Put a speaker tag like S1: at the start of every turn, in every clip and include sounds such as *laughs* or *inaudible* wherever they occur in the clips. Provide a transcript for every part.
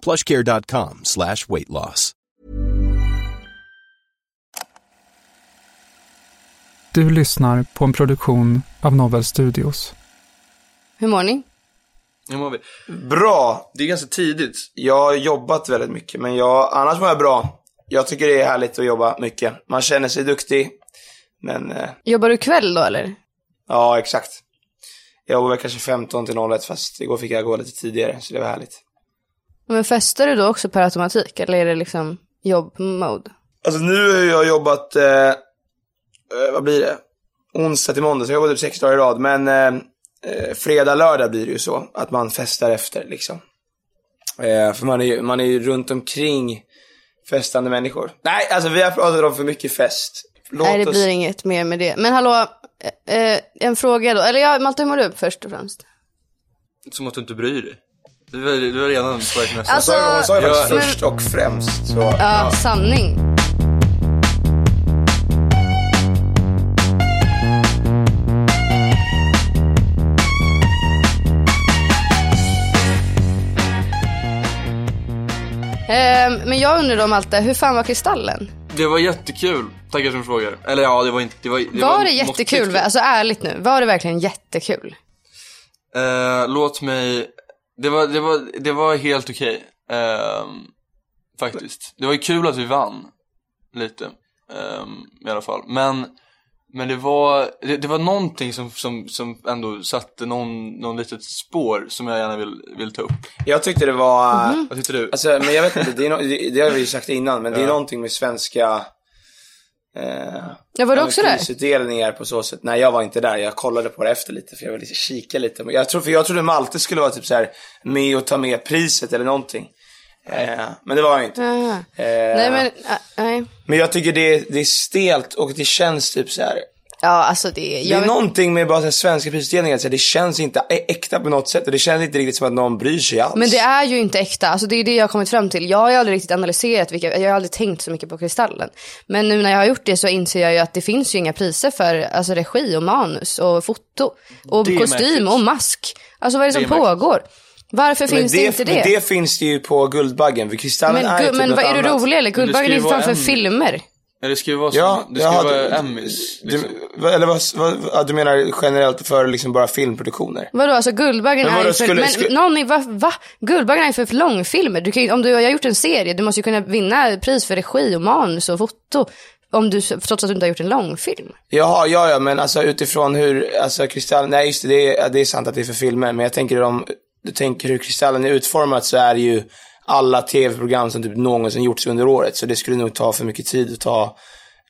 S1: Plushcare.com slash weight loss.
S2: Du lyssnar på en produktion av Novel Studios.
S3: Hur mår ni?
S4: Hur mår vi? Bra. Det är ganska tidigt. Jag har jobbat väldigt mycket, men jag, annars mår jag bra. Jag tycker det är härligt att jobba mycket. Man känner sig duktig, men eh,
S3: Jobbar du kväll då eller?
S4: ja, exakt. Jag jobbar väl kanske 15 till 01, fast igår fick jag gå lite tidigare, så det var härligt.
S3: Men festar du då också per automatik eller är det liksom jobb-mode?
S4: Alltså nu har jag jobbat, eh, eh, vad blir det? Onsdag till måndag, så jag har jobbat typ sex dagar i rad. Men eh, eh, fredag, lördag blir det ju så. Att man festar efter liksom. Eh, för man är, ju, man är ju runt omkring festande människor. Nej, alltså vi har pratat om för mycket fest. Låt
S3: Nej, det
S4: oss...
S3: blir inget mer med det. Men hallå, eh, eh, en fråga då. Eller ja, Malte, hur mår du först och främst?
S5: Som att du inte bryr dig. Du var, du var redan på ett nästa.
S3: Alltså,
S4: Hon sa ju faktiskt
S3: men-
S4: först och främst. Så.
S3: ja, sanning. Ehm, Men jag undrar då Malte, hur fan var Kristallen?
S5: Det var jättekul. Tackar som frågar. Eller ja, det var inte... Det var, det
S3: var det
S5: måttligt
S3: jättekul?
S5: kul.
S3: Alltså ärligt nu, var det verkligen jättekul?
S5: Eh, låt mig... Det var, det var, det var helt okej. Ehm, faktiskt. Det var ju kul att vi vann. Lite. ehm, I alla fall. Men, men det var, det, det var någonting som, som, som ändå satte någon, någon litet spår som jag gärna vill, vill ta upp.
S4: Jag tyckte det var...
S3: Mm-hmm.
S5: Vad tyckte du?
S4: Alltså, men jag vet inte, det, är no- det, det har vi ju sagt innan, men det är någonting med svenska... Eh,
S3: Ja, var du också där?
S4: Prisutdelningar på så sätt. Nej, jag var inte där. Jag kollade på det efter lite, för jag ville kika lite. Men Jag, tror, för jag trodde Malte skulle vara typ så här med och ta med priset eller någonting. Eh, men det var han ju inte.
S3: Jaha.
S4: Eh,
S3: Ah. Nej men,
S4: men...
S3: äh, nej.
S4: jag tycker det är, det är stelt och det känns typ så här.
S3: Ja alltså det,
S4: Det
S3: jag
S4: är
S3: vet,
S4: någonting med bara så här svenska prisutdelningar, så här, det känns inte ä- äkta på något sätt och det känns inte riktigt som att någon bryr sig alls.
S3: men det är ju inte äkta, alltså det är det jag har kommit fram till. Jag har ju aldrig riktigt analyserat vilka, jag har aldrig tänkt så mycket på Kristallen. Men nu när jag har gjort det så inser jag ju att det finns ju inga priser för alltså, regi och manus och foto och
S5: Det är
S3: kostym
S5: märkligt.
S3: och mask. Alltså vad är det som
S5: är märkligt.
S3: pågår? Varför
S4: Men
S3: finns det, inte det?
S4: Men det finns det ju på Guldbaggen, för Kristallen
S3: men
S4: är ju
S3: gu-
S4: typ
S3: men
S4: något
S3: vad är du
S4: annat.
S3: rolig eller?
S5: ska
S3: Guldbaggen
S5: ju
S3: är ju
S5: vara
S3: framför
S5: en-
S3: filmer.
S5: Nej, det ska ju vara, som,
S4: Ja,
S5: det ska ju
S4: jaha,
S5: vara
S4: du-
S5: Emmys.
S4: Du,
S5: Liksom.
S4: vad- eller vad, vad, ja, du menar generellt för liksom bara filmproduktioner?
S3: Vadå, alltså Guldbaggen
S4: Men vadå,
S3: är ju för...
S4: skulle-
S3: men
S4: skulle-
S3: någon är, va, va? Guldbaggen är ju för långfilmer. Du kan, ju- om du har gjort en serie, du måste ju kunna vinna pris för regi och manus och foto. Om du, trots att du inte har gjort en långfilm.
S4: Jaha, ja, ja, men alltså utifrån hur, alltså Kristallen, nej just det, det, är- ja, det är sant att det är för filmer, men jag tänker hur de, du tänker hur Kristallen är utformat så är det ju alla tv-program som typ någonsin gjorts under året, så det skulle nog ta för mycket tid att ta,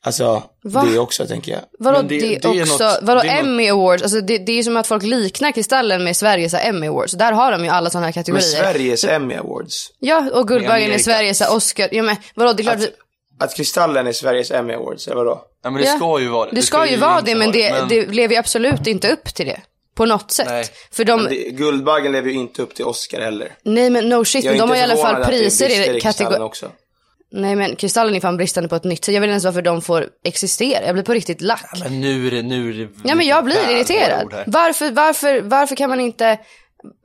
S4: alltså
S3: Va?
S4: det också tänker jag.
S3: Vadå
S5: Men
S3: det,
S5: det- det är
S3: också?
S5: något-
S3: vadå
S5: det är något-
S3: Emmy Awards? Alltså det, det är ju som att folk liknar Kristallen med Sveriges Emmy Awards. Där har de ju alla sådana här
S4: Men
S3: kategorier.
S4: Sveriges Emmy Awards,
S3: Ja, och Guldbaggen är
S5: Amerika.
S3: Sveriges Oscar. Ja, men vadå, det är klart...
S4: Att- att Kristallen är Sveriges Emmy Awards, eller vadå?
S5: Ja, men det
S3: Ja.
S5: ska ju vara det.
S3: Det ska ju vara det, men det,
S5: men-
S3: det lever ju absolut inte upp till det. På något sätt.
S5: Nej.
S3: För de,
S4: Men det, Guldbaggen lever ju inte upp till Oscar heller.
S3: Nej men no shit,
S4: Jag
S3: men
S4: är
S3: de har i
S4: inte
S3: alla fall
S4: förvånad att det är
S3: priser
S4: brister
S3: i
S4: Kristallen
S3: kategori...
S4: också.
S3: Nej men Kristallen är fan bristande på ett nytt sätt. Jag vet inte ens varför de får existera. Jag blir på riktigt lack. Ja men,
S5: Men nu är det, nu är det...
S3: jag blir
S5: Fan, våra
S3: irriterad.
S5: ord här.
S3: Varför, varför, varför kan man inte...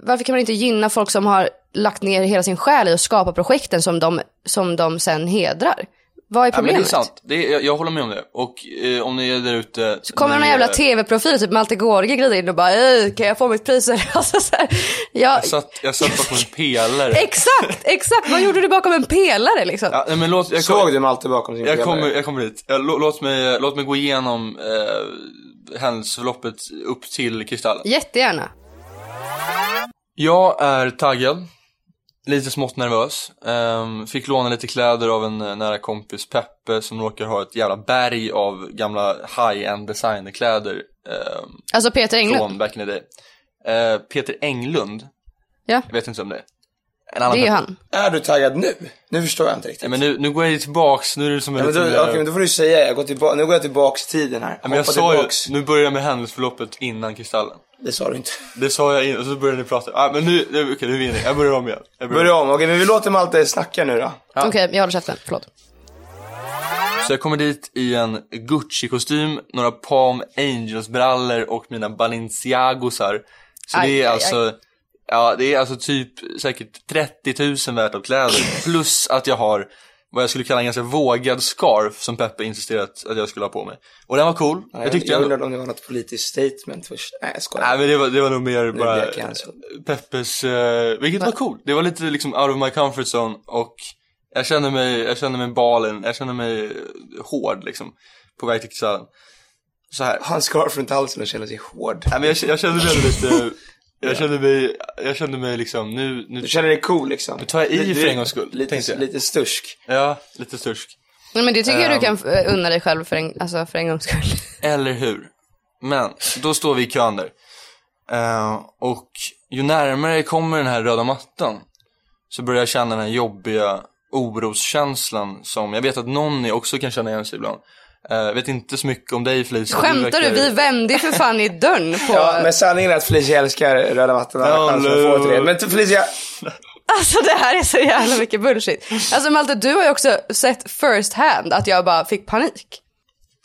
S3: Varför kan man inte gynna folk som har lagt ner hela sin själ i att skapa projekten som de, som de sen hedrar? Vad är
S5: Ja, men det är
S3: problemet?
S5: sant. Det är, jag, jag håller med om det. Och eh, om ni är där ute... eh,
S3: så kommer någon jävla tv-profil, typ Malte Gårdgren glider in och bara "Ey, kan jag få mitt pris? *laughs* Alltså, så här, ja,
S5: Jag satt, jag satt bakom en
S3: *laughs*
S5: pelare.
S3: exakt, exakt. Vad gjorde du bakom en pelare liksom?
S5: Ja, nej, men låt, jag kom-
S4: Såg du Malte bakom sin
S5: Jag
S4: pelare?
S5: kommer, jag kommer dit. Jag, lå- låt, mig, låt mig gå igenom eh, händelseförloppet upp till Kristallen.
S3: Jättegärna.
S5: Jag är taggad. Lite smått nervös. Ehm, fick låna lite kläder av en eh, nära kompis, Peppe, som råkar ha ett jävla berg av gamla high-end designerkläder ehm,
S3: Alltså Peter Englund.
S5: från back in the day. Eh, Peter Englund,
S3: Ja,
S5: jag vet inte om det är. En
S3: det
S5: annan
S3: är ju
S5: Peppe.
S3: han.
S4: Är du taggad nu? Nu förstår jag inte riktigt.
S5: Nej, men nu, nu går jag tillbaks, nu är det som en
S4: Ja, men då,
S5: liten,
S4: okej,
S5: eh,
S4: men då får du säga, jag går tillba- nu går jag tillbaks i tiden här.
S5: ja, men jag
S4: Hoppa
S5: sa ju,
S4: tillbaks.
S5: nu börjar jag med händelseförloppet innan Kristallen.
S4: Det sa du inte.
S5: Det sa jag innan, och så började ni prata. Ah, men nu, nu- okej nu vinner jag. Jag börjar om igen. Jag börjar om.
S4: Börja om, okej men vi låter Malte snacka nu då.
S3: Okej, jag håller käften. Förlåt.
S5: Så jag kommer dit i en Gucci-kostym, några Palm Angels-brallor och mina Balenciagosar. Så
S3: Aj,
S5: det är
S3: aj,
S5: alltså, ja det är alltså typ säkert 30 000 värt av kläder. Plus att jag har vad jag skulle kalla en ganska vågad scarf som Peppe insisterat att jag skulle ha på mig. Och den var cool, jag tyckte
S4: jag
S5: jag
S4: undrade
S5: ändå.
S4: om det var något politiskt statement först. Nej jag skojar.
S5: Nej men det var, det var nog mer bara
S4: blir jag cancelled.
S5: Peppes, eh, vilket var coolt. Det var lite liksom out of my comfort zone och jag kände mig, jag kände mig balen, jag kände mig eh, hård liksom. På väg till Kristallen. Så här.
S4: Han scarf runt halsen och känner sig hård.
S5: Nej men jag, jag kände mig lite, jag kände mig, jag kände mig liksom nu, nu
S4: Du känner dig cool liksom. Nu
S5: tar jag i för en gångs skull, tänkte
S4: Lite,
S5: jag.
S4: lite stursk.
S5: ja, lite stursk.
S3: Nej, men det tycker jag du kan eh, unna dig själv för en, alltså, för en gångs skull.
S5: Eller hur? Men, då står vi i kön där. Eh, och ju närmare jag kommer den här röda mattan så börjar jag känna den här jobbiga oroskänslan som jag vet att någon i också kan känna igen sig ibland. Eh, Jag vet inte så mycket om dig Felicia.
S3: Skämtar du? Vi vände ju för fan i dörren på...
S4: Ja, men sanningen är att Felicia älskar röda mattan och alla chanser att få
S5: Hallå.
S4: till det. Men till Felicia,
S3: Alltså det här är så jävla mycket bullshit. Alltså Malte, du har ju också sett first hand att jag bara fick panik.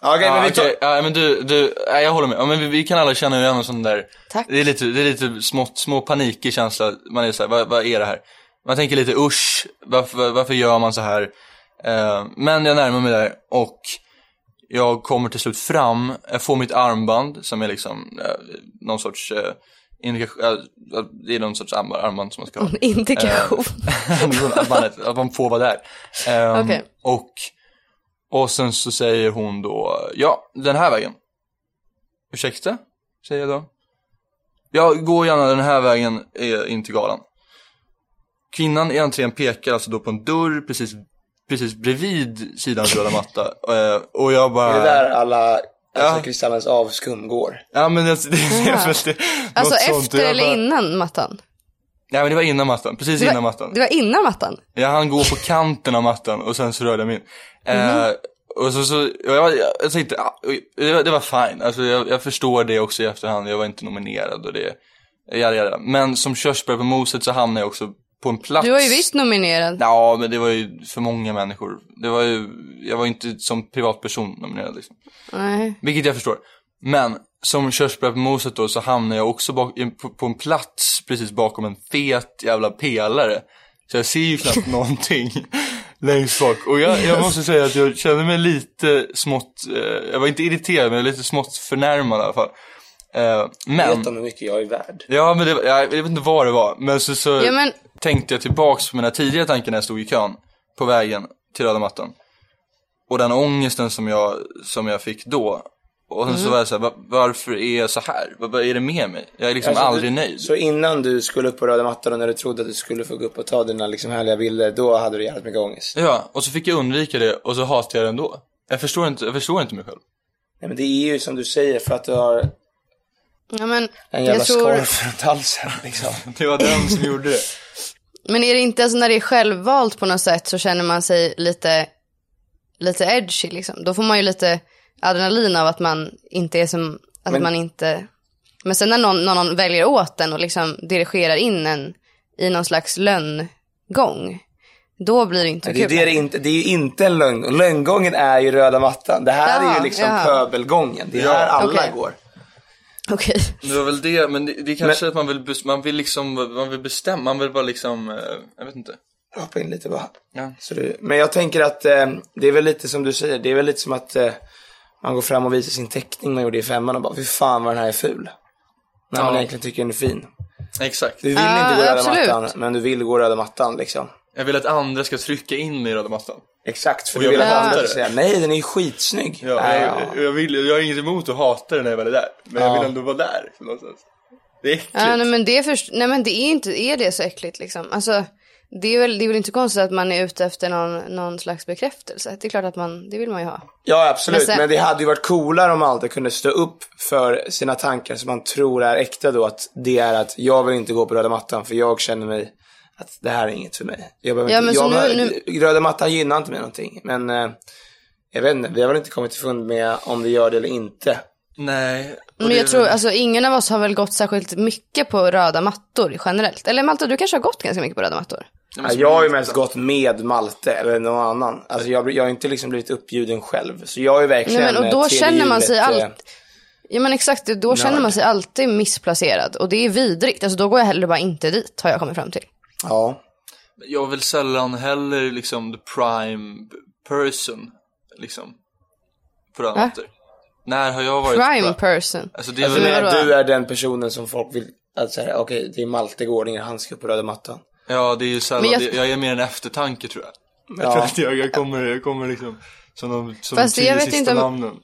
S4: Ja, okej
S5: Ja,
S4: men vi tar...
S5: okej. ja, men du, du, ja, jag håller med. Ja, men vi, vi kan alla känna igen en sån där.
S3: Tack.
S5: Det är lite, det är lite smått, små panikig känsla. Man är så här, vad, vad är det här? Man tänker lite usch, varför, varför gör man så här? Eh, men jag närmar mig där och jag kommer till slut fram, jag får mitt armband som är liksom eh, någon sorts eh, indikation, eh, det är någon sorts armband, armband som man ska ha.
S3: Indikation.
S5: *laughs* att, man, att man får vara där. Ehm,
S3: Okej.
S5: och, och sen så säger hon då, ja, den här vägen. Ursäkta, säger jag då. Ja, gå gärna den här vägen eh, in till galan. Kvinnan i entrén pekar alltså då på en dörr precis, precis bredvid sidans röda matta. Eh, och jag bara...
S4: Det är där alla, alltså kristallens avskum går.
S5: Ja men alltså, det, det, det,
S3: Alltså
S5: något sånt.
S3: efter
S5: Och jag
S3: eller
S5: bara-
S3: innan mattan?
S5: Nej men det var innan mattan, precis
S3: Det var-
S5: innan mattan.
S3: Det var innan mattan?
S5: Jag hann gå på kanten av mattan och sen så rörde jag mig in. Eh, och så, så, och jag, var- jag, jag tänkte, ah, oj, det var, det var fine. Alltså, jag, jag förstår det också i efterhand, jag var inte nominerad och det, jada, jada. Men som körsbär på moset så hamnade jag också på en plats.
S3: Du var ju visst nominerad.
S5: Ja, men det var ju för många människor. Det var ju, jag var ju inte som privatperson nominerad liksom.
S3: Nej.
S5: Vilket jag förstår. Men som körsbär på moset då så hamnar jag också bak, i- på, på en plats precis bakom en fet jävla pelare. Så jag ser ju knappt någonting längst bak. Och jag, jag måste säga att jag kände mig lite smått, eh, jag var inte irriterad men jag var lite smått förnärmad i alla fall. Eh,
S4: Jag
S5: men,
S4: vet om hur mycket jag är värd.
S5: ja men det, var- jag, jag vet inte vad det var. Men så, så
S3: Ja, men-
S5: tänkte jag tillbaks på mina tidigare tankar när jag stod i kön på vägen till röda mattan. Och den ångesten som jag, som jag fick då. Och sen
S3: Mm.
S5: så var jag såhär, "Va- varför är jag så här? Vad vad är det med mig? Jag är liksom
S4: Alltså,
S5: aldrig
S4: du,
S5: nöjd.
S4: Så innan du skulle upp på röda mattan och när du trodde att du skulle få gå upp och ta dina liksom härliga bilder, då hade du jävligt mycket ångest.
S5: Ja, och så fick jag undvika det och så hatade jag det ändå. Jag förstår inte, jag förstår inte mig själv.
S4: Nej men det är ju som du säger för att du har
S3: Ja, men,
S4: en jävla
S3: jag tror...
S4: scarf runt halsen
S3: *laughs*
S4: liksom.
S5: Det var den som gjorde det.
S3: men är det inte, alltså när det är självvalt på något sätt så känner man sig lite, lite edgy liksom. Då får man ju lite adrenalin av att man inte är som, att man inte... Men sen när någon, när någon väljer åt en och liksom dirigerar in en i någon slags lönngång, då blir det inte
S4: Det är,
S3: kul.
S4: det, det, inte, det är ju inte en lögn. Och Lögngången är ju röda mattan. Det här är
S3: Jaha,
S4: ju liksom
S3: jaha.
S4: pöbelgången. Det är här alla
S3: Okej.
S4: går.
S3: Okej.
S5: *laughs* Det var väl det, men det, det är kanske att man vill, bes- man vill liksom, man vill bestämma, man vill bara liksom, eh, jag vet inte.
S4: hoppa in lite bara.
S5: Ja.
S4: Så det, men jag tänker att eh, det är väl lite som du säger, det är väl lite som att eh, man går fram och visar sin teckning man gjorde i femman och bara, fy fan vad den här är ful. När man
S5: Ja.
S4: egentligen tycker den är fin.
S5: Exakt.
S4: Du vill
S3: Ja,
S4: inte gå
S3: absolut.
S4: röda mattan, men du vill gå röda mattan liksom.
S5: Jag vill att andra ska trycka in mig i röda mattan.
S4: Exakt, för
S5: Och
S4: du
S5: jag
S4: vill att
S5: hatar
S4: andra ska
S5: det.
S4: säga, nej den är ju skitsnygg.
S5: Ja,
S4: Nej,
S5: jag, jag, vill, jag har inget emot att hata det när jag väl är där. Men jag vill ändå vara där någonstans. Det är äckligt.
S3: Ja, nej, men det är först, nej men det är inte, är det så äckligt liksom? Alltså, det är väl, det är väl inte konstigt att man är ute efter någon, någon slags bekräftelse. Det är klart att man, det vill man ju ha.
S4: Ja, absolut. Men,
S3: Men sen-
S4: det hade ju varit coolare om alla kunde stå upp för sina tankar som man tror är äkta då. Att det är att jag vill inte gå på röda mattan för jag känner mig att det här är inget för mig. Jag behöver
S3: Ja,
S4: inte,
S3: men
S4: jag
S3: så nu-
S4: behöver, Röda mattan gynnar inte mig någonting. Men eh, jag vet inte, vi har väl inte kommit till fund med om det gör det eller inte.
S5: Nej. och det
S3: Men
S5: är
S3: jag tror,
S5: väl-
S3: alltså ingen av oss har väl gått särskilt mycket på röda mattor generellt. Eller Malta, du kanske har gått ganska mycket på röda mattor?
S4: Ja, Alltså, jag har ju mest gått med Malte eller någon annan. Alltså jag, jag har inte liksom blivit uppbjuden själv. Så jag är verkligen
S3: Nej, men, och
S4: eh,
S3: då känner man sig
S4: tillgivet, eh,
S3: allt... Ja men exakt, då känner man sig alltid missplacerad. Och det är vidrigt. Alltså då går jag hellre bara inte dit, har jag kommit fram till.
S4: eh, Ja.
S5: Jag vill sällan heller liksom the prime person. Liksom. På röda
S3: Va?
S5: mattor. När har jag varit
S3: Prime
S5: bra-
S3: person.
S5: Alltså det är
S4: Alltså,
S5: väl...
S4: men,
S3: vadå?
S4: du är den personen som folk vill, att säga, okej det är Malte Gårdinger, han ska upp på röda mattan.
S5: Ja, det är ju sällan.
S3: Men jag-
S5: Jag... jag är mer en eftertanke tror jag. Jag
S4: Ja.
S5: tror att jag, jag, kommer, jag kommer liksom som de, som
S3: Fast
S5: de tio
S3: jag vet
S5: sista
S3: inte om-
S5: namnen.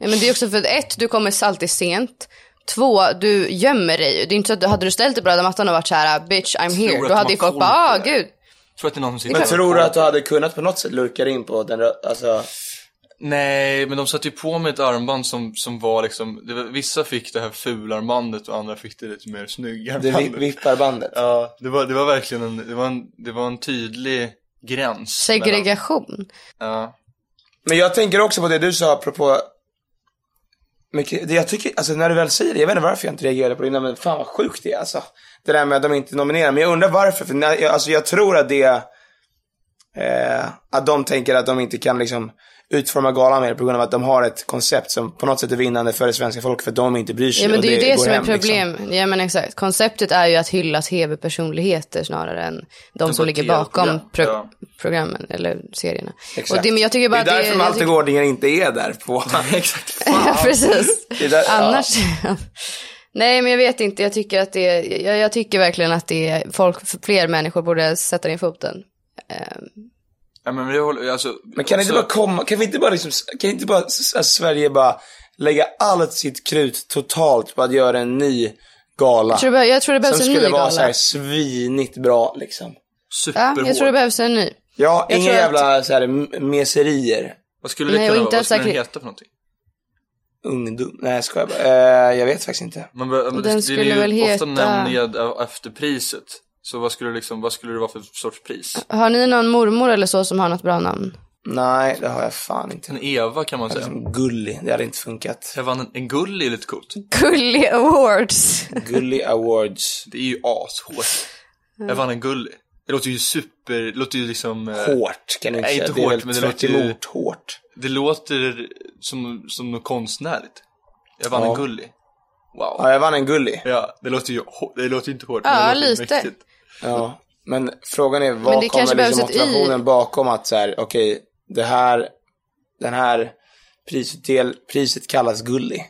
S3: Ja, men det är också för att ett, du kommer alltid sent. Två, du gömmer dig ju. Det är inte så att du, hade du ställt dig på röda mattan och varit så här "Ah, bitch I'm here,
S5: att
S3: då hade
S5: man
S3: ju folk
S5: får
S3: bara ah
S5: inte det.
S3: gud.
S5: Jag tror att det är någon som sitter
S4: Men
S5: där.
S4: tror du att du hade kunnat på något sätt lurka dig in på den rö- alltså,
S5: Nej, men de satte ju på mig ett armband som, som var liksom, det var, vissa fick det här fularmbandet och andra fick det lite mer snygga
S4: det vi-
S5: armbandet.
S4: vipparbandet?
S5: Ja, det var, det var verkligen en, det var en, det var en tydlig gräns. mellan-
S3: Segregation.
S5: Ja.
S4: Men jag tänker också på det du sa apropå men kri- det jag tycker, alltså när du väl säger det, jag vet inte varför jag inte reagerade på det innan, men fan vad sjukt det är alltså. Det där med att de inte nominerar, men jag undrar varför, för när, jag, alltså jag tror att det, eh, att de tänker att de inte kan liksom utforma galan mer på grund av att de har ett koncept som på något sätt är vinnande för det svenska folket för att de inte bryr sig.
S3: Ja men
S4: och
S3: det är ju det
S4: går
S3: som är
S4: hem, liksom.
S3: problem. Ja men exakt. Konceptet är ju att hylla tv-personligheter snarare än de som
S5: bara
S3: ligger
S5: TV-program,
S3: bakom pro-
S5: ja.
S3: programmen eller serierna.
S4: Exakt.
S3: Och det, men jag tycker bara
S4: det är
S3: att
S4: därför
S3: jag
S4: Malte
S3: tycker-
S4: Gårdinger inte är där på... *laughs* Exakt.
S3: *laughs* Ja, precis.
S4: Det är där- ja.
S3: Annars. Nej, men jag vet inte. Jag tycker, att det är, jag, jag tycker verkligen att det är folk, fler människor borde sätta ner foten.
S5: ja, men jag håller, alltså.
S4: Men kan det inte bara komma, kan vi inte bara liksom, kan inte bara s- alltså, Sverige bara lägga allt sitt krut totalt på att göra en ny gala?
S3: Jag tror, det be- jag tror det behövs
S4: som
S3: en ny
S4: skulle vara så här
S3: gala.
S4: svinigt bra liksom.
S3: Ja,
S5: superhård.
S3: jag tror det behövs en ny.
S4: Ja,
S3: Jag
S4: inga
S3: tror att-
S4: jävla så här m- meserier.
S5: Vad skulle det
S3: Nej, och
S5: kunna vara?
S3: inte
S5: Vad skulle den
S3: säkert-
S5: heta för någonting?
S4: Ungdom. Nej, jag skojar bara. Eh, jag vet faktiskt inte.
S5: Man, bör- men det-
S3: Den
S5: det är
S3: skulle
S5: ju
S3: väl heta-
S5: ofta nämnd ned- efter priset. Så vad skulle, det liksom, vad skulle det vara för sorts pris?
S3: Har ni någon mormor eller så som har något bra namn?
S4: Nej, det har jag fan inte.
S5: En Eva kan man säga.
S4: Liksom Gulli, det hade inte funkat. *laughs*
S5: Jag vann en, en gullig är lite coolt.
S3: Gully Awards.
S4: Gulli Awards.
S5: Det är ju ashårt. Jag vann en gullig. Det låter ju super, det låter ju liksom... eh,
S4: Hårt kan du inte
S5: Nej,
S4: säga.
S5: inte
S4: det är
S5: hårt,
S4: väl
S5: men det
S4: tvärt
S5: låter ju-
S4: emot hårt.
S5: Det låter som, som något konstnärligt. Jag vann
S4: Ja.
S5: en gullig. Wow.
S4: Ja, jag vann en Gulli.
S5: Ja, det låter ju hå- det låter ju inte hårt,
S3: Ja,
S5: men det låter
S3: lite.
S5: mäktigt.
S4: Ja, men frågan är vad
S3: Men det
S4: kommer
S3: kanske
S4: liksom
S3: behövs ett i.
S4: motivationen bakom att så här, okej, det här, den här prisutdel, priset kallas Gulli.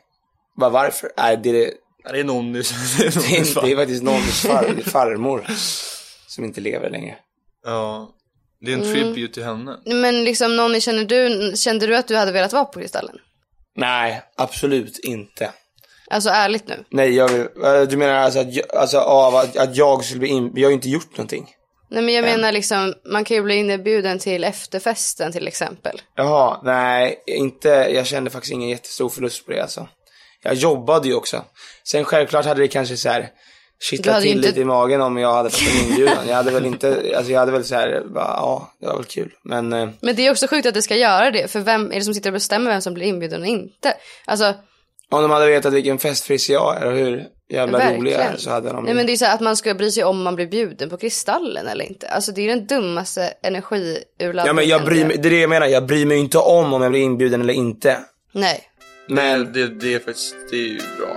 S4: Bara varför? Nej, det är, det,
S5: Ja, det är någon nu som... *laughs*
S4: är inte- det är
S3: *laughs*
S4: faktiskt någons far, farmor som inte lever längre.
S5: Ja. Det är
S4: Mm.
S5: en tribute till henne.
S3: Men liksom någon ni känner du, kände du att du hade velat vara på Kristallen?
S4: Nej, absolut inte.
S3: Alltså ärligt nu.
S4: Nej, jag vill, eh, du menar alltså att, jag- alltså av att, att jag skulle bli in, jag har ju inte gjort någonting.
S3: Nej men jag menar liksom, man kan ju bli inbjuden till efterfesten till exempel.
S4: Jaha, nej, inte, jag kände faktiskt ingen jättestor förlust på det alltså. Jag jobbade ju också. Sen självklart hade det kanske så här
S3: Du
S4: kittlat
S3: hade
S4: till
S3: ju inte-
S4: lite i magen om jag hade fått en inbjudan. Jag hade väl inte, alltså jag hade väl så här, bara, ja, det var väl kul. Men eh,
S3: Men det är också sjukt att det ska göra det, för vem är det som sitter och bestämmer vem som blir inbjuden och inte? Alltså,
S4: om de hade vetat vilken festfriss jag är och hur jävla rolig jag är
S3: verkligen.
S4: så hade de
S3: Nej men det är så här att man ska bry sig om man blir bjuden på Kristallen eller inte. Alltså det är den dummaste energiurladdningen.
S4: Ja men jag bryr mig, det är det jag menar, jag bryr mig inte om om jag blir inbjuden eller inte.
S3: Nej.
S5: Men det, det är faktiskt, det är ju bra.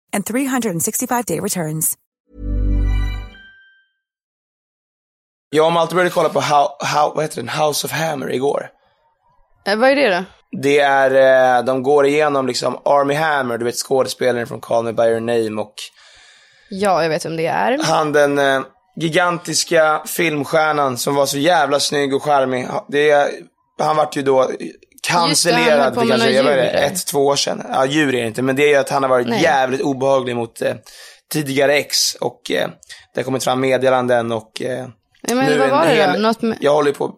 S6: and 365-day returns.
S4: Jag och Malte började kolla på how, how, vad heter den? House of Hammer igår.
S3: Eh, vad är det då?
S4: Det är, eh, de går igenom liksom Army Hammer, du vet skådespelaren från Call Me By Your Name och
S3: Ja, jag vet vem det är.
S4: han den eh, gigantiska filmstjärnan som var så jävla snygg och charmig. Det, han vart ju då
S3: Just det, han
S4: cancellerad
S3: höll på
S4: för
S3: med
S4: kanske jag
S3: några
S4: vet, inte,
S3: djur.
S4: ett, två år sedan. Ja, djur är det inte, men det är ju att han har varit
S3: Nej.
S4: jävligt obehaglig mot eh, tidigare ex och eh, det har kommit fram meddelanden och eh,
S3: Nej, men
S4: nu
S3: vad
S4: en
S3: var det då?
S4: hel-
S3: Något med...
S4: Jag håller ju på att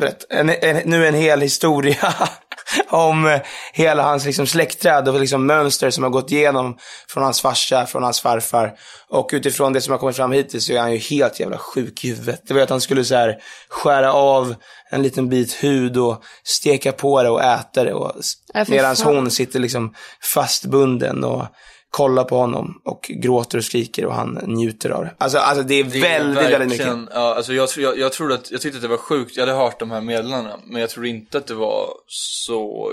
S4: berätta. En, en, nu en hel historia *laughs* om eh, hela hans liksom släktträd och liksom mönster som har gått igenom från hans farsa, från hans farfar. Och utifrån det som har kommit fram hittills så är han ju helt jävla sjuk i huvudet. Det var ju att han skulle så här skära av en liten bit hud och steka på det och äta det. Och,
S3: Ja, fy
S4: medan
S3: fan.
S4: hon sitter liksom fastbunden och kollar på honom och gråter och skriker och han njuter av det. Alltså, alltså det är
S5: Det är
S4: väldigt, väldigt mycket.
S5: verkligen- Ja, alltså jag, tror- jag, jag trodde att, jag tyckte att det var sjukt. Jag hade hört de här meddelandena, men jag trodde inte att det var så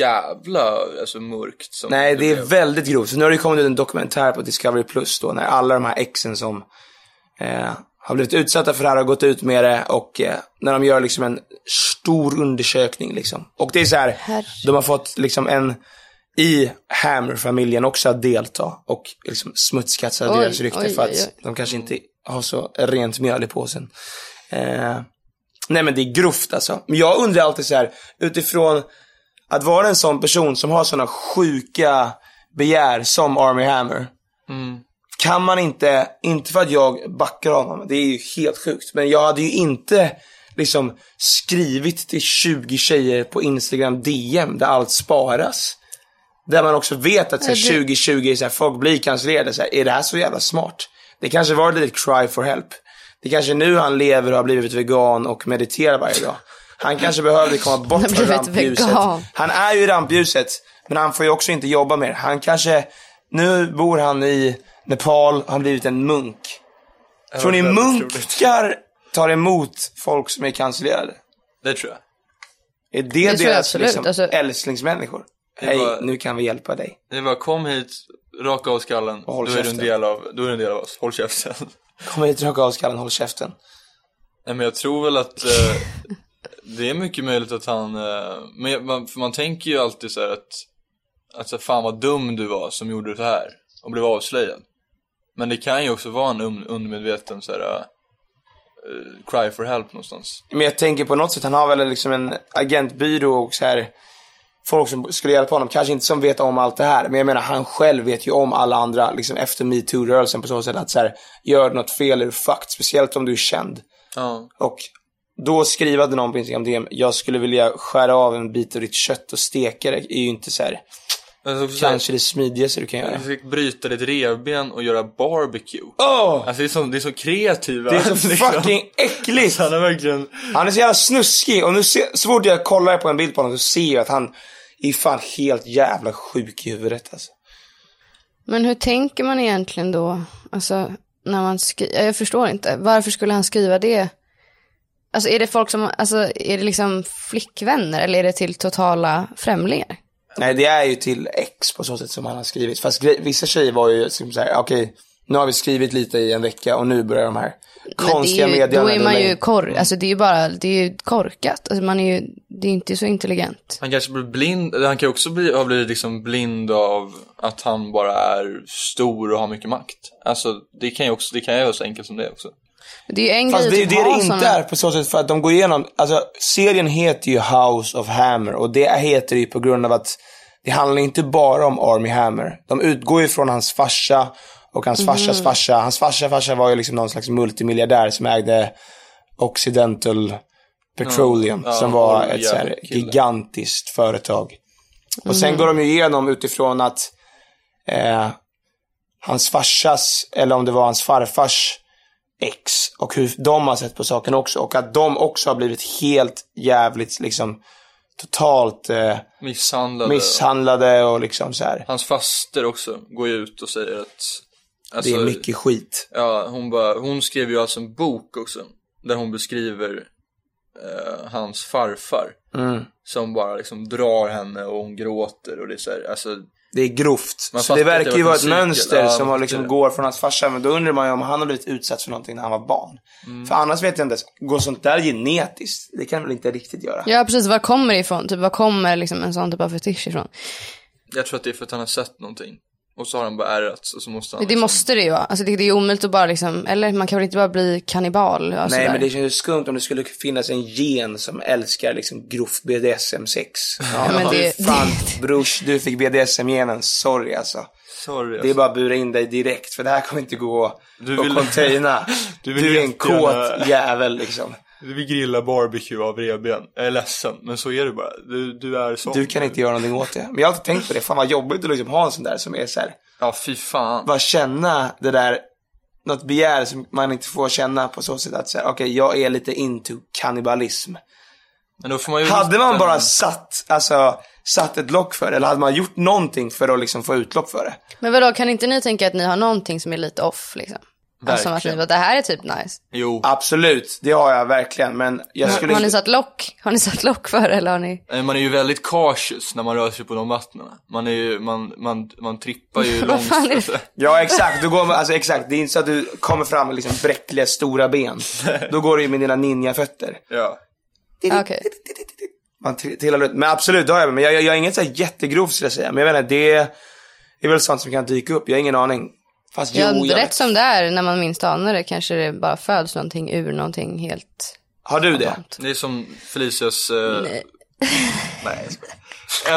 S5: jävla alltså, mörkt. Som
S4: Nej, det är
S5: blev.
S4: väldigt grovt. Så nu har det kommit ut en dokumentär på Discovery Plus då, när alla de här exen som eh, har blivit utsatta för det här har gått ut med det och eh, när de gör liksom en stor undersökning liksom. Och det är så här, de har fått liksom en i Hammer-familjen också att delta och liksom smutskatsa
S3: Oj,
S4: deras rykte
S3: oj,
S4: för att
S3: oj, oj.
S4: de kanske inte har så rent mjöl i påsen. Eh, nej men det är grovt alltså. Men jag undrar alltid så här, utifrån att vara en sån person som har såna sjuka begär som Army Hammer. Kan man inte, inte för att jag backar honom, det är ju helt sjukt. Men jag hade ju inte liksom skrivit till 20 tjejer på Instagram DM där allt sparas. Där man också vet att så här,
S3: Nej, det-
S4: 2020 är så här, folk blir cancellerade. Så här, är det här så jävla smart? Det kanske var ett litet cry for help. Det kanske nu han lever och har blivit vegan och mediterar varje dag. Han kanske behövde komma bort
S3: har
S4: från
S3: blivit
S4: Alltså, rampljuset.
S3: vegan.
S4: Han är ju i rampljuset, men han får ju också inte jobba mer. Han kanske, nu bor han i Nepal, han har blivit en munk. Tror ni
S5: väldigt
S4: munkar tar emot folk som är cancellerade?
S5: Det tror jag.
S4: Är
S3: jag
S4: det, deras
S3: absolut,
S4: liksom,
S3: alltså-
S4: älsklingsmänniskor? Hej,
S5: var-
S4: nu kan vi hjälpa dig.
S5: Det är bara kom hit, raka av skallen,
S4: Och håll
S5: då är, du en
S4: käften.
S5: del av, då är du en del av oss. Håll käften. *laughs*
S4: Kom hit, raka av skallen, håll käften.
S5: Nej men jag tror väl att eh, det är mycket möjligt att han, eh, men jag- man, för man tänker ju alltid så här att, att så här, fan vad dum du var som gjorde det här och blev avslöjad. Men det kan ju också vara en un, undermedveten så här, eh, cry for help någonstans.
S4: Men jag tänker på något sätt, han har väl liksom en agentbyrå och så här folk som skulle hjälpa honom, kanske inte som vet om allt det här, men jag menar han själv vet ju om alla andra liksom efter metoo-rörelsen på så sätt att så här, gör du något fel är du fucked, speciellt om du är känd.
S5: Ja.
S4: Och då skriva till någon på Instagram DM, jag skulle vilja skära av en bit av ditt kött och steka det, är ju inte så här,
S5: Alltså, också så här,
S4: kanske det smidigaste du kan göra.
S5: du fick bryta ditt revben och göra barbecue.
S4: Åh!
S5: Alltså det är så, det är så kreativa.
S4: Det är så
S5: *laughs* liksom. Alltså,
S4: fucking äckligt!
S5: Han är verkligen...
S4: Han är så jävla snuskig och nu ser, så fort jag kollar på en bild på honom så ser jag att han är fan helt jävla sjuk i huvudet alltså.
S3: Men hur tänker man egentligen då? Alltså, när man skriver, jag förstår inte. Varför skulle han skriva det? Alltså är det folk som, alltså är det liksom flickvänner eller är det till totala främlingar?
S4: Nej det är ju till ex på så sätt som han har skrivit. Fast grej, vissa tjejer var ju som såhär, okej Nu har vi skrivit lite i en vecka och nu börjar de här
S3: Men det
S4: konstiga
S3: är ju, då
S4: meddelandena
S3: är man
S4: rulla
S3: ju
S4: in.
S3: kor, alltså det är ju bara, det är ju korkat. Alltså man är ju, det är inte så intelligent.
S5: Han kanske blir blind, eller han kan ju också bli, ha blivit liksom blind av att han bara är stor och har mycket makt. Alltså det kan ju också, det kan ju vara så enkelt som det också.
S3: Det är ju en
S4: Fast
S3: grej
S4: det är ju
S3: att
S4: det
S3: ha
S4: det inte
S3: såna-
S4: är på så sätt för att de går igenom, alltså serien heter ju House of Hammer och det heter det ju på grund av att det handlar inte bara om Army Hammer. De utgår ju från hans farsa och hans farsas
S3: Mm.
S4: farsa. Hans farsa farsa var ju liksom någon slags multimiljardär som ägde Occidental Petroleum
S5: Ja, ja,
S4: som var
S5: olja-
S4: ett så här
S5: kille. Mm.
S4: gigantiskt företag. Och sen går de ju igenom utifrån att eh, hans farsas, eller om det var hans farfars ex och hur de har sett på saken också. Och att de också har blivit helt jävligt liksom totalt eh,
S5: Misshandlade.
S4: misshandlade och liksom så här.
S5: Hans faster också går ju ut och säger att...
S4: Det
S5: Alltså,
S4: är mycket skit.
S5: Ja, hon, bara, hon skrev ju alltså en bok också. Där hon beskriver eh, hans farfar.
S4: Mm.
S5: Som bara liksom drar henne och hon gråter och det är så här, alltså.
S4: Det är grovt.
S5: Man
S4: Så
S5: fattar
S4: det
S5: att det
S4: verkar
S5: har
S4: ju vara ett
S5: varit en cykel.
S4: mönster
S5: Ja,
S4: som
S5: man
S4: har
S5: fattar
S4: liksom
S5: det.
S4: går från hans farsa. Men då undrar man ju om han har blivit utsatt för någonting när han var barn.
S5: Mm.
S4: För annars vet jag inte, ens, går sånt där genetiskt? Det kan väl inte riktigt göra?
S3: Ja precis, var kommer det ifrån? Typ var kommer liksom en sån typ av fetisch ifrån?
S5: Jag tror att det är för att han har sett någonting. Och så har han bara ärrats och så måste han liksom
S3: Det måste det ju vara. Alltså det, det är ju omöjligt att bara liksom, eller man kan väl inte bara bli kannibal? Alltså
S4: Nej
S3: där.
S4: men det känns ju skumt om det skulle finnas en gen som älskar liksom grovt BDSM-sex. Ja,
S3: men
S4: du,
S3: det-
S4: fan brors, du fick BDSM-genen, sorry alltså.
S5: Sorry,
S4: Det är bara att bura in dig direkt för det här kommer inte gå
S5: Du
S4: att
S5: vill-
S4: containa. Du,
S5: *laughs* Du vill
S4: är en kåt
S5: jättegärna-
S4: jävel liksom.
S5: Vi grillar barbecue av revben. Jag är ledsen, men så är det bara. Du, du är sån.
S4: Du kan inte göra någonting åt det. Men jag har alltid tänkt på det, fan vad jobbigt att liksom ha en sån där som är så här.
S5: Ja, fy fan.
S4: bara känna det där, något begär som man inte får känna på så sätt att säga, okej jag är lite into kannibalism.
S5: Men då får man ju
S4: Hade man
S5: hitta
S4: bara
S5: en-
S4: satt, alltså, satt ett lock för det, eller hade man gjort någonting för att liksom få utlopp för det?
S3: Men vadå, kan inte ni tänka att ni har någonting som är lite off liksom? Alltså som att ni
S5: Verkligen.
S3: bara, det här är typ nice.
S5: Jo,
S4: Absolut, det har jag verkligen, men jag skulle
S3: Har ni
S4: inte...
S3: satt lock? Har ni satt lock för det, eller har ni?
S5: eh, man är ju väldigt cautious när man rör sig på de vattnen. Man är ju, man, man, man trippar
S3: *laughs*
S5: ju långt.
S3: fan är det?
S5: alltså.
S4: Ja exakt, du går, alltså, exakt, det är inte så att du kommer fram med liksom bräckliga stora ben. Då går du ju med dina ninjafötter.
S5: Ja.
S3: Okej.
S4: Man t- trillar ut. Men absolut, det har jag. Men jag, jag, jag är inget så här jättegrovt skulle jag säga. Men jag menar, det är väl sånt som kan dyka upp. Jag har ingen aning. Fast
S3: ja,
S4: jo, jag
S3: rätt
S4: vet.
S3: som det är, när man minst anar det, kanske det bara föds någonting ur någonting helt...
S4: Har du det?
S5: Det är som Felicias... Eh... Nej. *laughs* Nej, jag skojar.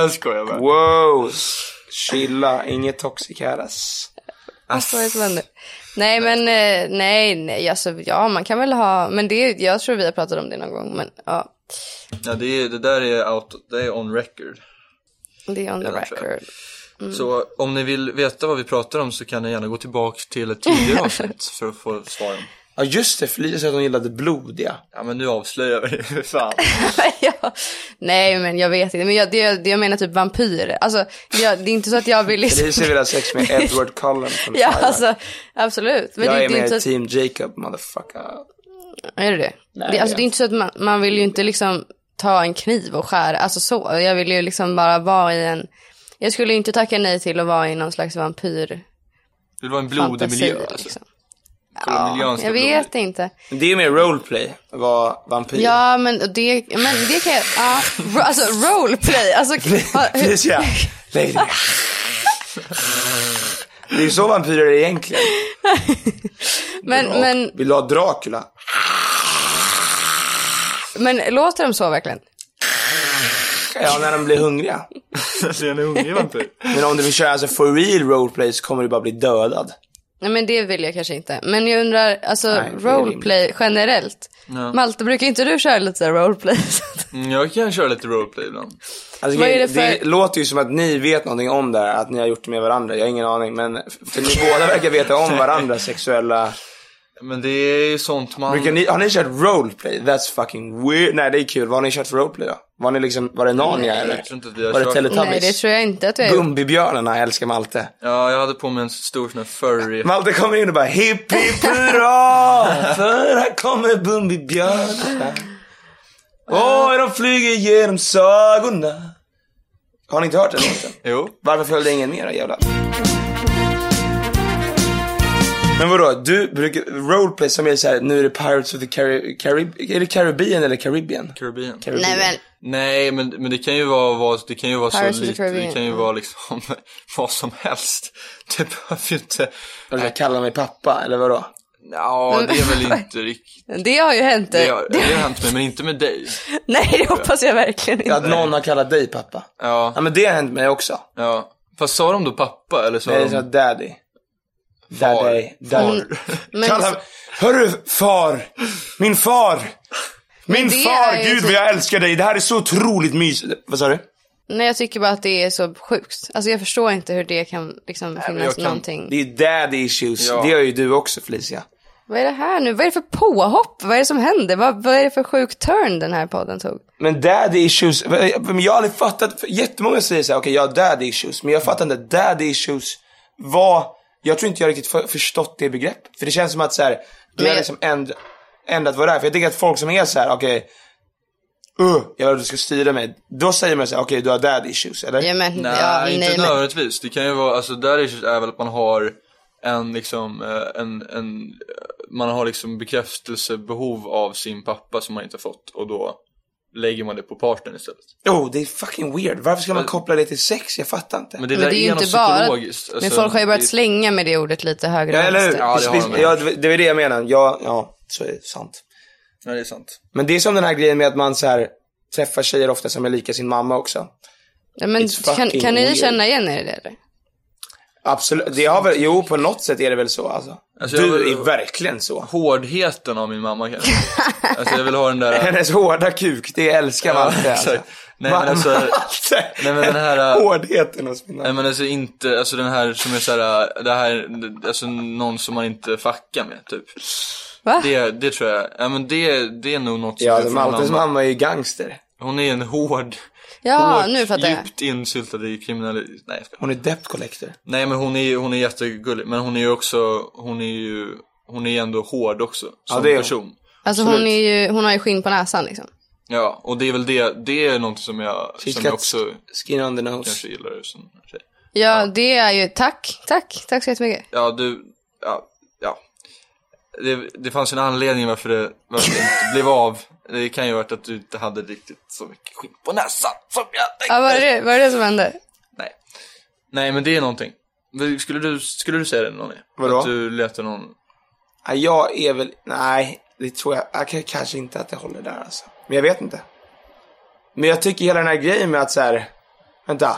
S5: Jag skojar bara.
S4: Wow. Chilla, inget toxic här ass.
S3: Vad är det som händer? Nej, men eh, nej, nej, alltså ja, man kan väl ha, men det, jag tror vi har pratat om det någon gång, men ja,
S5: Ja, det, är, det där är out, det är on record.
S3: det är on the
S5: Ja, tror jag.
S3: record. *laughs* Mm.
S5: Så om ni vill veta vad vi pratar om så kan ni gärna gå tillbaka till ett tidigare avsnitt för att få svaren.
S4: Ja just det, Felicia sa att hon gillade blodiga.
S5: Ja, men nu avslöjar vi det. Fy fan.
S3: ja. Nej, men jag vet inte, men jag, det, det jag menar typ vampyrer, alltså, jag, det är inte så att jag vill liksom...
S4: Felicia vill ha sex
S3: *laughs*
S4: med Edward Cullen från
S3: Ja,
S4: Twilight.
S3: alltså, absolut. Men
S4: jag
S3: det,
S4: är
S3: det är
S4: med
S3: inte
S4: i
S3: så att-
S4: team Jacob, motherfucker.
S3: Är det det? det, alltså, det är inte så att man, man vill ju inte liksom ta en kniv och skära, alltså så. Jag vill ju liksom bara vara i en, jag skulle ju inte tacka nej till att vara i någon slags vampyr
S5: Det var en blodig
S3: fantasi.
S5: miljö. Alltså.
S3: Liksom.
S5: Kolla, miljön ska
S3: Jag
S5: bli
S3: vet inte.
S4: Det är mer roleplay, att vara vampyr.
S3: Ja, men det, men det kan jag, ja, ro, alltså roleplay,
S4: *laughs*
S3: alltså. vad- hur- *laughs*
S4: Felicia, lägg dig ner. *laughs* Det är ju så vampyrer är egentligen.
S3: men, men,
S4: Vill du ha Dracula?
S3: men låter de så verkligen?
S4: Ja, när de blir hungriga.
S5: Ser ni hungrig vampyr?
S4: Men om du vill köra alltså for real roleplay så kommer du bara bli dödad.
S3: Nej men det vill jag kanske inte. Men jag undrar, alltså
S4: Nej, det är
S3: roleplay generellt. Malte, brukar inte du köra lite så här roleplay? *laughs*
S5: Mm, jag kan köra lite roleplay ibland.
S4: Alltså,
S3: Vad
S4: grejen-
S3: är det för-
S4: låter ju som att ni vet någonting om det här, att ni har gjort det med varandra. Jag har ingen aning, men för ni båda verkar veta om varandra sexuella...
S5: Men det är ju sånt man...
S4: Brukar ni, har ni kört roleplay? That's fucking weird. Nej, det är kul. Vad har ni kört för roleplay då? Var ni liksom, var det Narnia eller?
S5: jag tror inte att vi har
S4: var det
S5: kört-
S3: Nej, det
S4: Teletubbies?
S3: tror jag inte att vi har gjort.
S4: Gumbibjörnarna älskar Malte.
S5: Ja, jag hade på mig en stor sån här furry.
S4: Malte kommer in och bara hipp hipp hurra! För här kommer Bumbibjörnarna. Oj, de flyger genom sagorna. Har ni inte
S5: *laughs*
S4: hört den låten?
S5: Jo.
S4: Varför följde ingen med då jävlar? Men vadå, du brukar, roleplay som är såhär, nu är det Pirates of the Cari- Carib... Är det Caribbean eller Caribbean?
S5: Caribbean.
S4: Caribbean.
S3: Nej men,
S5: Nej, men, men det kan ju vara, vara, det kan ju vara så
S3: Pirates of the
S5: lite, det
S3: Caribbean,
S5: kan ju
S3: ja.
S5: vara liksom *laughs* vad som helst. Det behöver ju inte...
S4: Har du sagt, kalla mig pappa, eller vadå?
S5: Ja,
S3: Mm.
S5: det är väl inte
S3: *laughs*
S5: riktigt...
S3: det har ju hänt.
S5: Det har, det har hänt mig, men inte med dig.
S3: *laughs* Nej, det hoppas jag verkligen inte.
S4: Att någon har kallat dig pappa. Ja
S5: Ja,
S4: men det har hänt mig också.
S5: ja. Fast sa de då pappa eller sa
S4: Nej, det är så här,
S5: de...
S4: daddy.
S5: Far.
S4: Daddy. Daddy.
S3: Men,
S4: Kalla, hörru, far! Min far! Min
S3: det
S4: far!
S3: är ju
S4: Gud
S3: typ-
S4: vad jag älskar dig, det här är så otroligt mysigt. Vad sa du?
S3: nej, jag tycker bara att det är så sjukt. Alltså jag förstår inte hur det kan liksom
S5: jag
S3: finnas
S5: kan-
S3: någonting.
S4: Det är daddy issues,
S5: Ja.
S4: det gör ju du också Felicia.
S3: Vad är det här nu? Vad är det för påhopp? Vad är det som händer? Vad, vad är det för sjuk turn den här podden tog?
S4: Men daddy issues, men jag har aldrig fattat, för jättemånga säger såhär, okej jag har daddy issues, men jag fattar inte, daddy issues var, jag tror inte jag riktigt för, förstått det begreppet. För det känns som att såhär, du
S3: Men-
S4: har liksom änd, ändrat vad det är. För jag tänker att folk som är såhär, okej, uh, jag vill att du ska styra mig. Då säger man såhär, okej du har daddy issues, eller?
S3: Ja, men,
S5: Nej,
S3: ja,
S5: inte
S3: nej, men,
S5: nödvändigtvis. Det kan ju vara, alltså där är det är väl att man har en liksom, eh, en, en, man har liksom bekräftelsebehov av sin pappa som man inte har fått och då lägger man det på partnern istället.
S4: Oh, det är fucking weird. Varför ska man koppla det till sex? Jag fattar inte.
S5: Men det
S3: men
S5: där
S3: det är ju
S5: något
S3: inte bara...
S5: psykologiskt.
S3: men
S5: Alltså,
S3: folk har ju börjat
S5: det-
S3: slänga med det ordet lite högre
S4: ja,
S3: och
S4: eller hur?
S3: vänster. Alltså,
S5: Ja, det har
S4: Precis,
S5: de.
S4: ja, det, det är det jag menar. Ja, ja, så är det sant.
S5: Ja, det är sant.
S4: Men det är som den här grejen med att man så här, träffar tjejer ofta som är lika sin mamma också.
S3: Ja, men
S4: It's
S3: kan,
S4: fucking
S3: kan ni
S4: weird.
S3: känna igen er i det eller?
S4: Absolut. Det har väl, jo, på något sätt är det väl så alltså.
S5: Alltså,
S4: du
S5: jag vill-
S4: är verkligen så.
S5: Hårdheten av min mamma
S3: *laughs*
S5: kanske. alltså jag vill ha den där...
S4: Hennes hårda kuk, det älskar man alltid. Alltså.
S5: exakt. Nej,
S4: *laughs*
S5: men alltså-
S4: Malte.
S5: Nej, men den här,
S4: *laughs*
S5: äh,
S4: Hårdheten hos mina...
S5: Nej men alltså inte, alltså den här som är såhär, äh, det här, alltså någon som man inte fuckar med typ.
S3: Va?
S5: Det, det tror jag, ja men det, det är nog något som
S4: Ja,
S5: är från
S4: Maltes
S5: mamma.
S4: mamma är ju gangster.
S5: Hon är en hård,
S3: Ja,
S5: hårt,
S3: nu fattar jag.
S5: djupt insyltad i kriminalitet. Nej, jag skojar.
S4: Hon är debt collector.
S5: Nej men hon är, hon är jättegullig, men hon är ju också, hon är ju, hon är ju ändå hård också. Som
S4: det är hon.
S5: person.
S3: Alltså hon, är ju, hon har ju skinn på näsan liksom.
S5: Ja, och det är väl det, det är något som jag,
S4: She's got
S5: som jag också
S4: skin on the nose.
S5: kanske gillar som tjej.
S3: Ja, det är ju, tack, tack, tack så jättemycket.
S5: Ja, du, ja, ja. Det, det fanns en anledning varför det, varför det inte blev av. Det kan ju ha varit att du inte hade riktigt så mycket skinn på näsan som jag tänkte.
S3: Ja, vad är det, vad är det som hände?
S5: Nej. Nej, men det är någonting. Skulle du, skulle du säga det Nonny?
S4: Vadå?
S5: Att du letar någon...
S4: Ja, jag är väl, nej, det tror jag, jag kan- kanske inte att det håller där alltså. Men jag vet inte. Men jag tycker hela den här grejen med att så här, vänta.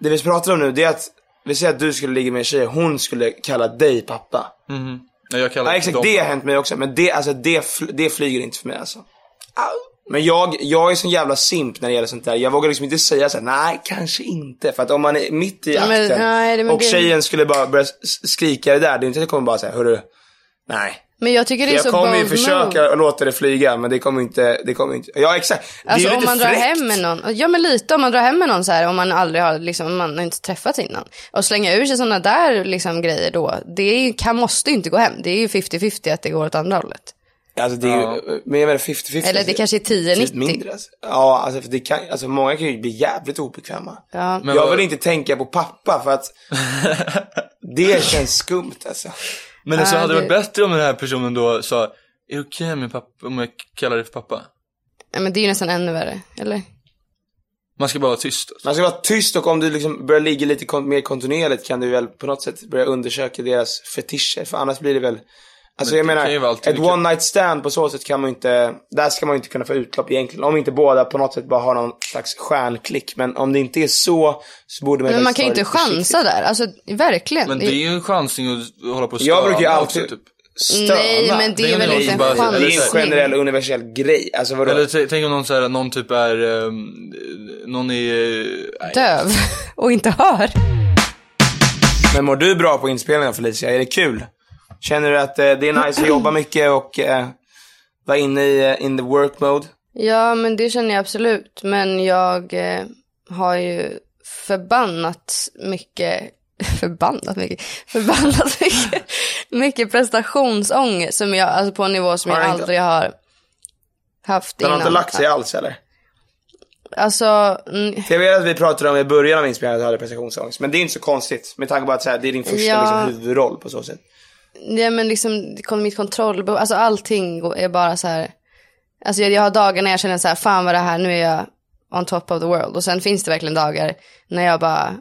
S4: Det vi pratar om nu, det är att, vi säger att du skulle ligga med en tjej, hon skulle kalla dig pappa.
S5: Nej, jag kallar
S4: Nej
S5: inte
S4: exakt,
S5: dem
S4: det har
S5: för-
S4: hänt mig också. Men det, alltså, det, fl- det flyger inte för mig alltså. Au. Men jag, jag är sån jävla simp när det gäller sånt där. Jag vågar liksom inte säga såhär, nej kanske inte. För att om man är mitt i
S3: Ja,
S4: akten
S3: men, nej, det- men
S4: och
S3: det-
S4: tjejen skulle bara börja s- s- skrika det där. Det är inte att jag kommer bara säga, hörru, nej.
S3: Men jag tycker det är
S4: Jag
S3: så
S4: kommer ju
S3: bold
S4: försöka
S3: move.
S4: låta det flyga men det kommer inte, det kommer inte. Ja exakt. Det
S3: Alltså
S4: är ju
S3: om
S4: lite
S3: man drar
S4: fräckt.
S3: hem med någon, ja men lite om man drar hem med någon så här om man aldrig har liksom, man har inte träffat innan. Och slänga ur sig sådana där liksom grejer då, det är ju, kan, måste ju inte gå hem. Det är ju 50-50 att det går åt andra hållet.
S4: Alltså det är ju, men jag menar 50-50.
S3: Eller det kanske är 10-90.
S4: Typ mindre alltså. Ja alltså för det kan, alltså många kan ju bli jävligt obekväma.
S3: Ja.
S4: jag
S5: vad-
S4: vill inte tänka på pappa för att det känns skumt alltså.
S5: Men alltså, hade det
S3: Äh, det-
S5: varit bättre om den här personen då sa, är det okej med pappa, om jag kallar dig för pappa?
S3: Ja, men det är ju nästan ännu värre, eller?
S5: Man ska bara vara tyst. Alltså.
S4: Man ska vara tyst och om du liksom börjar ligga lite kon- mer kontinuerligt kan du väl på något sätt börja undersöka deras fetischer för annars blir det väl Alltså
S5: Men
S4: jag
S5: det kan ju vara
S4: menar,
S5: alltid
S4: ett
S5: mycket-
S4: one night stand på så sätt kan man ju inte, där ska man ju inte kunna få utlopp egentligen. Om inte båda på något sätt bara har någon slags stjärnklick. Men om det inte är så, så borde man
S3: Men man
S4: faktiskt
S3: kan ju
S4: vara
S3: inte
S4: lite försiktig.
S3: chansa där, alltså verkligen.
S5: Men det är ju en chansning att hålla på och
S4: Jag brukar ju
S5: stöna
S4: alltid
S5: också, typ.
S4: stöna.
S3: Nej, men det är väl
S5: någon
S3: inte
S5: som
S3: en
S5: bara-
S4: Det
S5: eller
S4: är en
S5: så-
S3: chansning.
S4: generell universell grej. Alltså vadå?
S5: Eller t- tänk om någon, så här, någon typ är, ehm, någon är, eh, nej.
S3: döv och inte hör.
S4: Men mår du bra på inspelningarna Felicia? Är det kul? Känner du att eh, det är nice
S3: *clears throat*
S4: att jobba mycket och eh, vara inne i eh, in the work mode?
S3: Ja, men det känner jag absolut. Men jag eh, har ju förbannat mycket, *laughs* förbannat mycket, *laughs* förbannat mycket, mycket prestationsångest som jag, alltså på en nivå som
S4: Har
S3: jag
S4: du inte-
S3: aldrig har haft
S4: Den har
S3: innan.
S4: inte lagt sig alls eller?
S3: Alltså, mm,
S4: Jag vet att vi pratade om i början av inspelningen att du hade prestationsångest. Men det är inte så konstigt. Med tanke på att så här, det är din första
S3: Ja.
S4: liksom, huvudroll på så sätt.
S3: Ja men liksom det kom mitt kontrollbehov, alltså allting går- är bara så här. Alltså jag, jag har dagar när jag känner så här, fan vad det här, nu är jag on top of the world. Och sen finns det verkligen dagar när jag bara,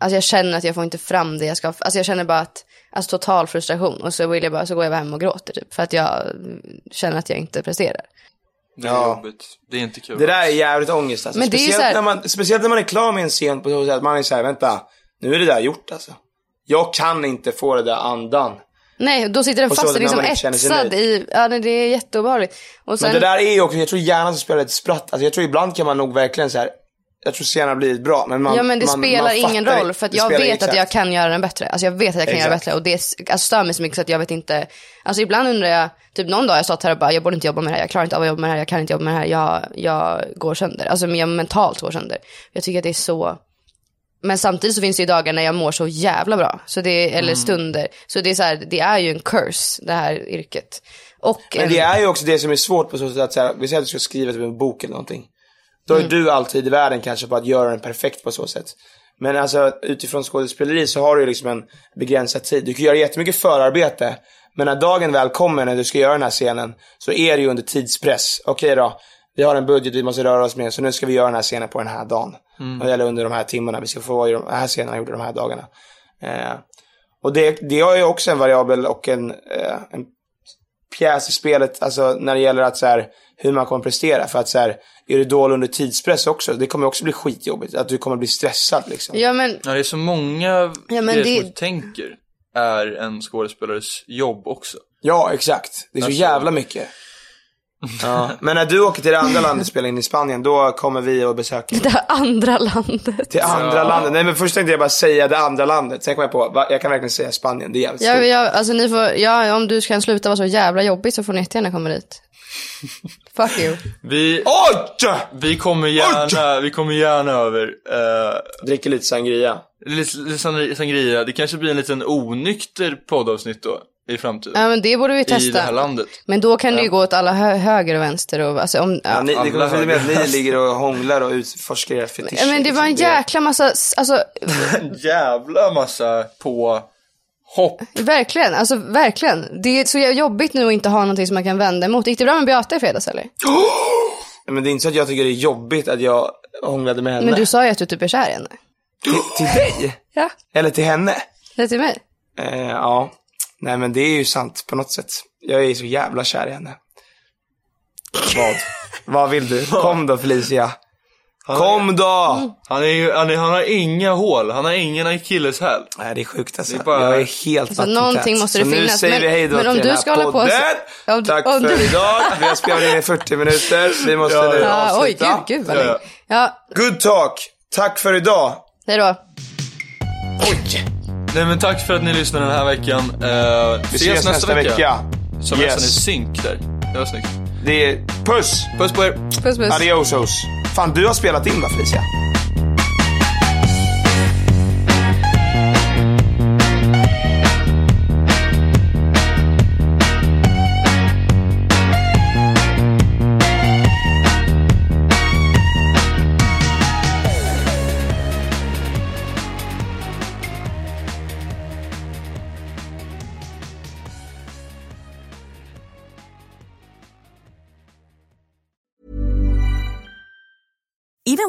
S3: alltså jag känner att jag får inte fram det jag ska, alltså jag känner bara att, alltså total frustration. Och så vill jag bara, så går jag bara hem och gråter typ. För att jag mm, känner att jag inte presterar.
S5: Det är
S4: Ja.
S5: jobbigt. Det är inte kul.
S4: Det där är jävligt ångest alltså.
S3: Men det är ju
S4: speciellt,
S3: så här-
S4: när man, speciellt när man är klar med en scen på så sätt att man är såhär, vänta, nu är det där gjort alltså. Jag kan inte få det där andan.
S3: Nej, då sitter den
S4: Och så
S3: fast,
S4: när
S3: liksom
S4: man inte känner sig
S3: etsad
S4: nöjd.
S3: i, ja nej, det är jätteobehagligt. Och
S4: Men
S3: sen,
S4: det där är ju också, jag tror hjärnan som spelar ett spratt. Alltså jag tror ibland kan man nog verkligen så här. jag tror scenerna blir bra men man
S3: ja men det
S4: man,
S3: spelar
S4: man
S3: ingen
S4: fattar-
S3: roll för att
S4: det
S3: jag
S4: spelar
S3: vet att
S4: exakt.
S3: jag kan göra den bättre. Alltså jag vet att jag kan göra den
S4: Exakt.
S3: bättre och det alltså, stör mig så mycket så att jag vet inte. Alltså ibland undrar jag, typ någon dag jag satt här och bara jag borde inte jobba med det här, jag klarar inte av att jobba med det här, jag kan inte jobba med det här, jag, jag går sönder. Alltså men jag mentalt går sönder. Jag tycker att det är så, men samtidigt så finns det ju dagar när jag mår så jävla bra. Så det, eller
S4: Mm.
S3: stunder. Så det är så här, det är ju en curse det här yrket. Och eh,
S4: Men
S3: en-
S4: det är ju också det som är svårt på så sätt att så här, vi säger att du ska skriva typ en bok eller någonting. Då är du alltid i världen kanske på att göra den perfekt på så sätt. Men alltså utifrån skådespeleri så har du ju liksom en begränsad tid. Du kan göra jättemycket förarbete. Men när dagen väl kommer när du ska göra den här scenen så är det ju under tidspress. Okej då, vi har en budget vi måste röra oss med så nu ska vi göra den här scenen på den här dagen. Eller under de här timmarna, vi ska få vara i de här scenerna gjorda de här dagarna. Eh, och det, det är ju också en variabel och en, eh, en pjäs i spelet, alltså när det gäller att så här, hur man kommer prestera. För att så här, är du dålig under tidspress också, det kommer också bli skitjobbigt. Att du kommer bli stressad liksom.
S3: Ja men *laughs*
S5: Ja, det är så många
S3: Ja, men
S5: grejer
S3: det-
S5: som man tänker är en skådespelares jobb också.
S4: Ja, exakt. Det är så
S5: Alltså-
S4: jävla mycket. Ja. *laughs* Men när du åker till det andra landet och spelar in i Spanien, då kommer vi och besöker
S3: det här andra landet.
S4: till andra landet. Nej men först tänkte jag bara säga det andra landet. Sen kom jag på, va, jag kan verkligen säga Spanien, det är jävligt
S3: Ja,
S4: stort.
S3: ja, alltså ni får, ja, om du kan sluta vara så jävla jobbig så får ni jättegärna komma *laughs* dit. Fuck you.
S5: Vi,
S4: Oj!
S5: vi, kommer gärna, vi kommer gärna över. eh,
S4: Dricker lite sangria.
S5: Lis- Lisan- Sangria, det kanske blir en liten onykter poddavsnitt då i framtiden.
S3: Ja, men det borde vi testa.
S5: I det här landet.
S3: Men då kan det ju gå åt alla hö- höger och vänster och alltså om, ja.
S4: Ja, ni, ni kommer
S5: alla
S4: följa med att ni
S5: höger.
S4: ligger och hånglar och utforskar era
S3: Ja,
S4: fetischer.
S3: men det var en
S4: liksom. Det-
S3: jäkla massa, s- alltså
S5: En jävla massa på hopp.
S3: verkligen, alltså verkligen. Det är så jävla jobbigt nu att inte ha någonting som man kan vända emot. Gick det bra med Beata i fredags eller?
S4: Men det är inte så att jag tycker det är jobbigt att jag hånglade med henne.
S3: Men du sa ju att du typ är kär i henne.
S4: Till dig?
S3: Ja,
S4: Eller till henne?
S3: det till mig.
S4: Eh, ja. Nej men det är ju sant på något sätt. Jag är så jävla kär i henne. Vad? Vad vill du? Kom då Felicia. Kom då!
S5: Han, är, ju- han, är, han har inga hål, han har ingen akilleshäl.
S4: Nej det är sjukt alltså.
S5: Det är bara-
S4: Jag är helt
S3: Alltså, någonting måste det
S4: så nu
S3: finnas.
S4: säger vi
S3: Men-
S4: hej då
S3: men om
S4: till
S3: du
S4: den här
S3: ska hålla på
S4: podden.
S3: så- om du-
S4: Tack
S3: om
S4: för
S3: du-
S4: idag. Vi har spelat in i 40 minuter. Vi måste
S5: Ja,
S4: nu
S3: Ja, oj,
S4: avsluta.
S3: gud, gud vad länge. Ja,
S4: Good talk. Tack för idag.
S3: hej då.
S5: Nej men tack för att ni lyssnade den här veckan. Eh,
S4: Vi ses, nästa vecka.
S5: Som
S4: Yes.
S5: nästan är synk där. Det var snyggt.
S4: Det är puss!
S5: Puss på er.
S3: Puss puss.
S4: Adiosos. Fan, du har spelat in va Felicia?
S6: Even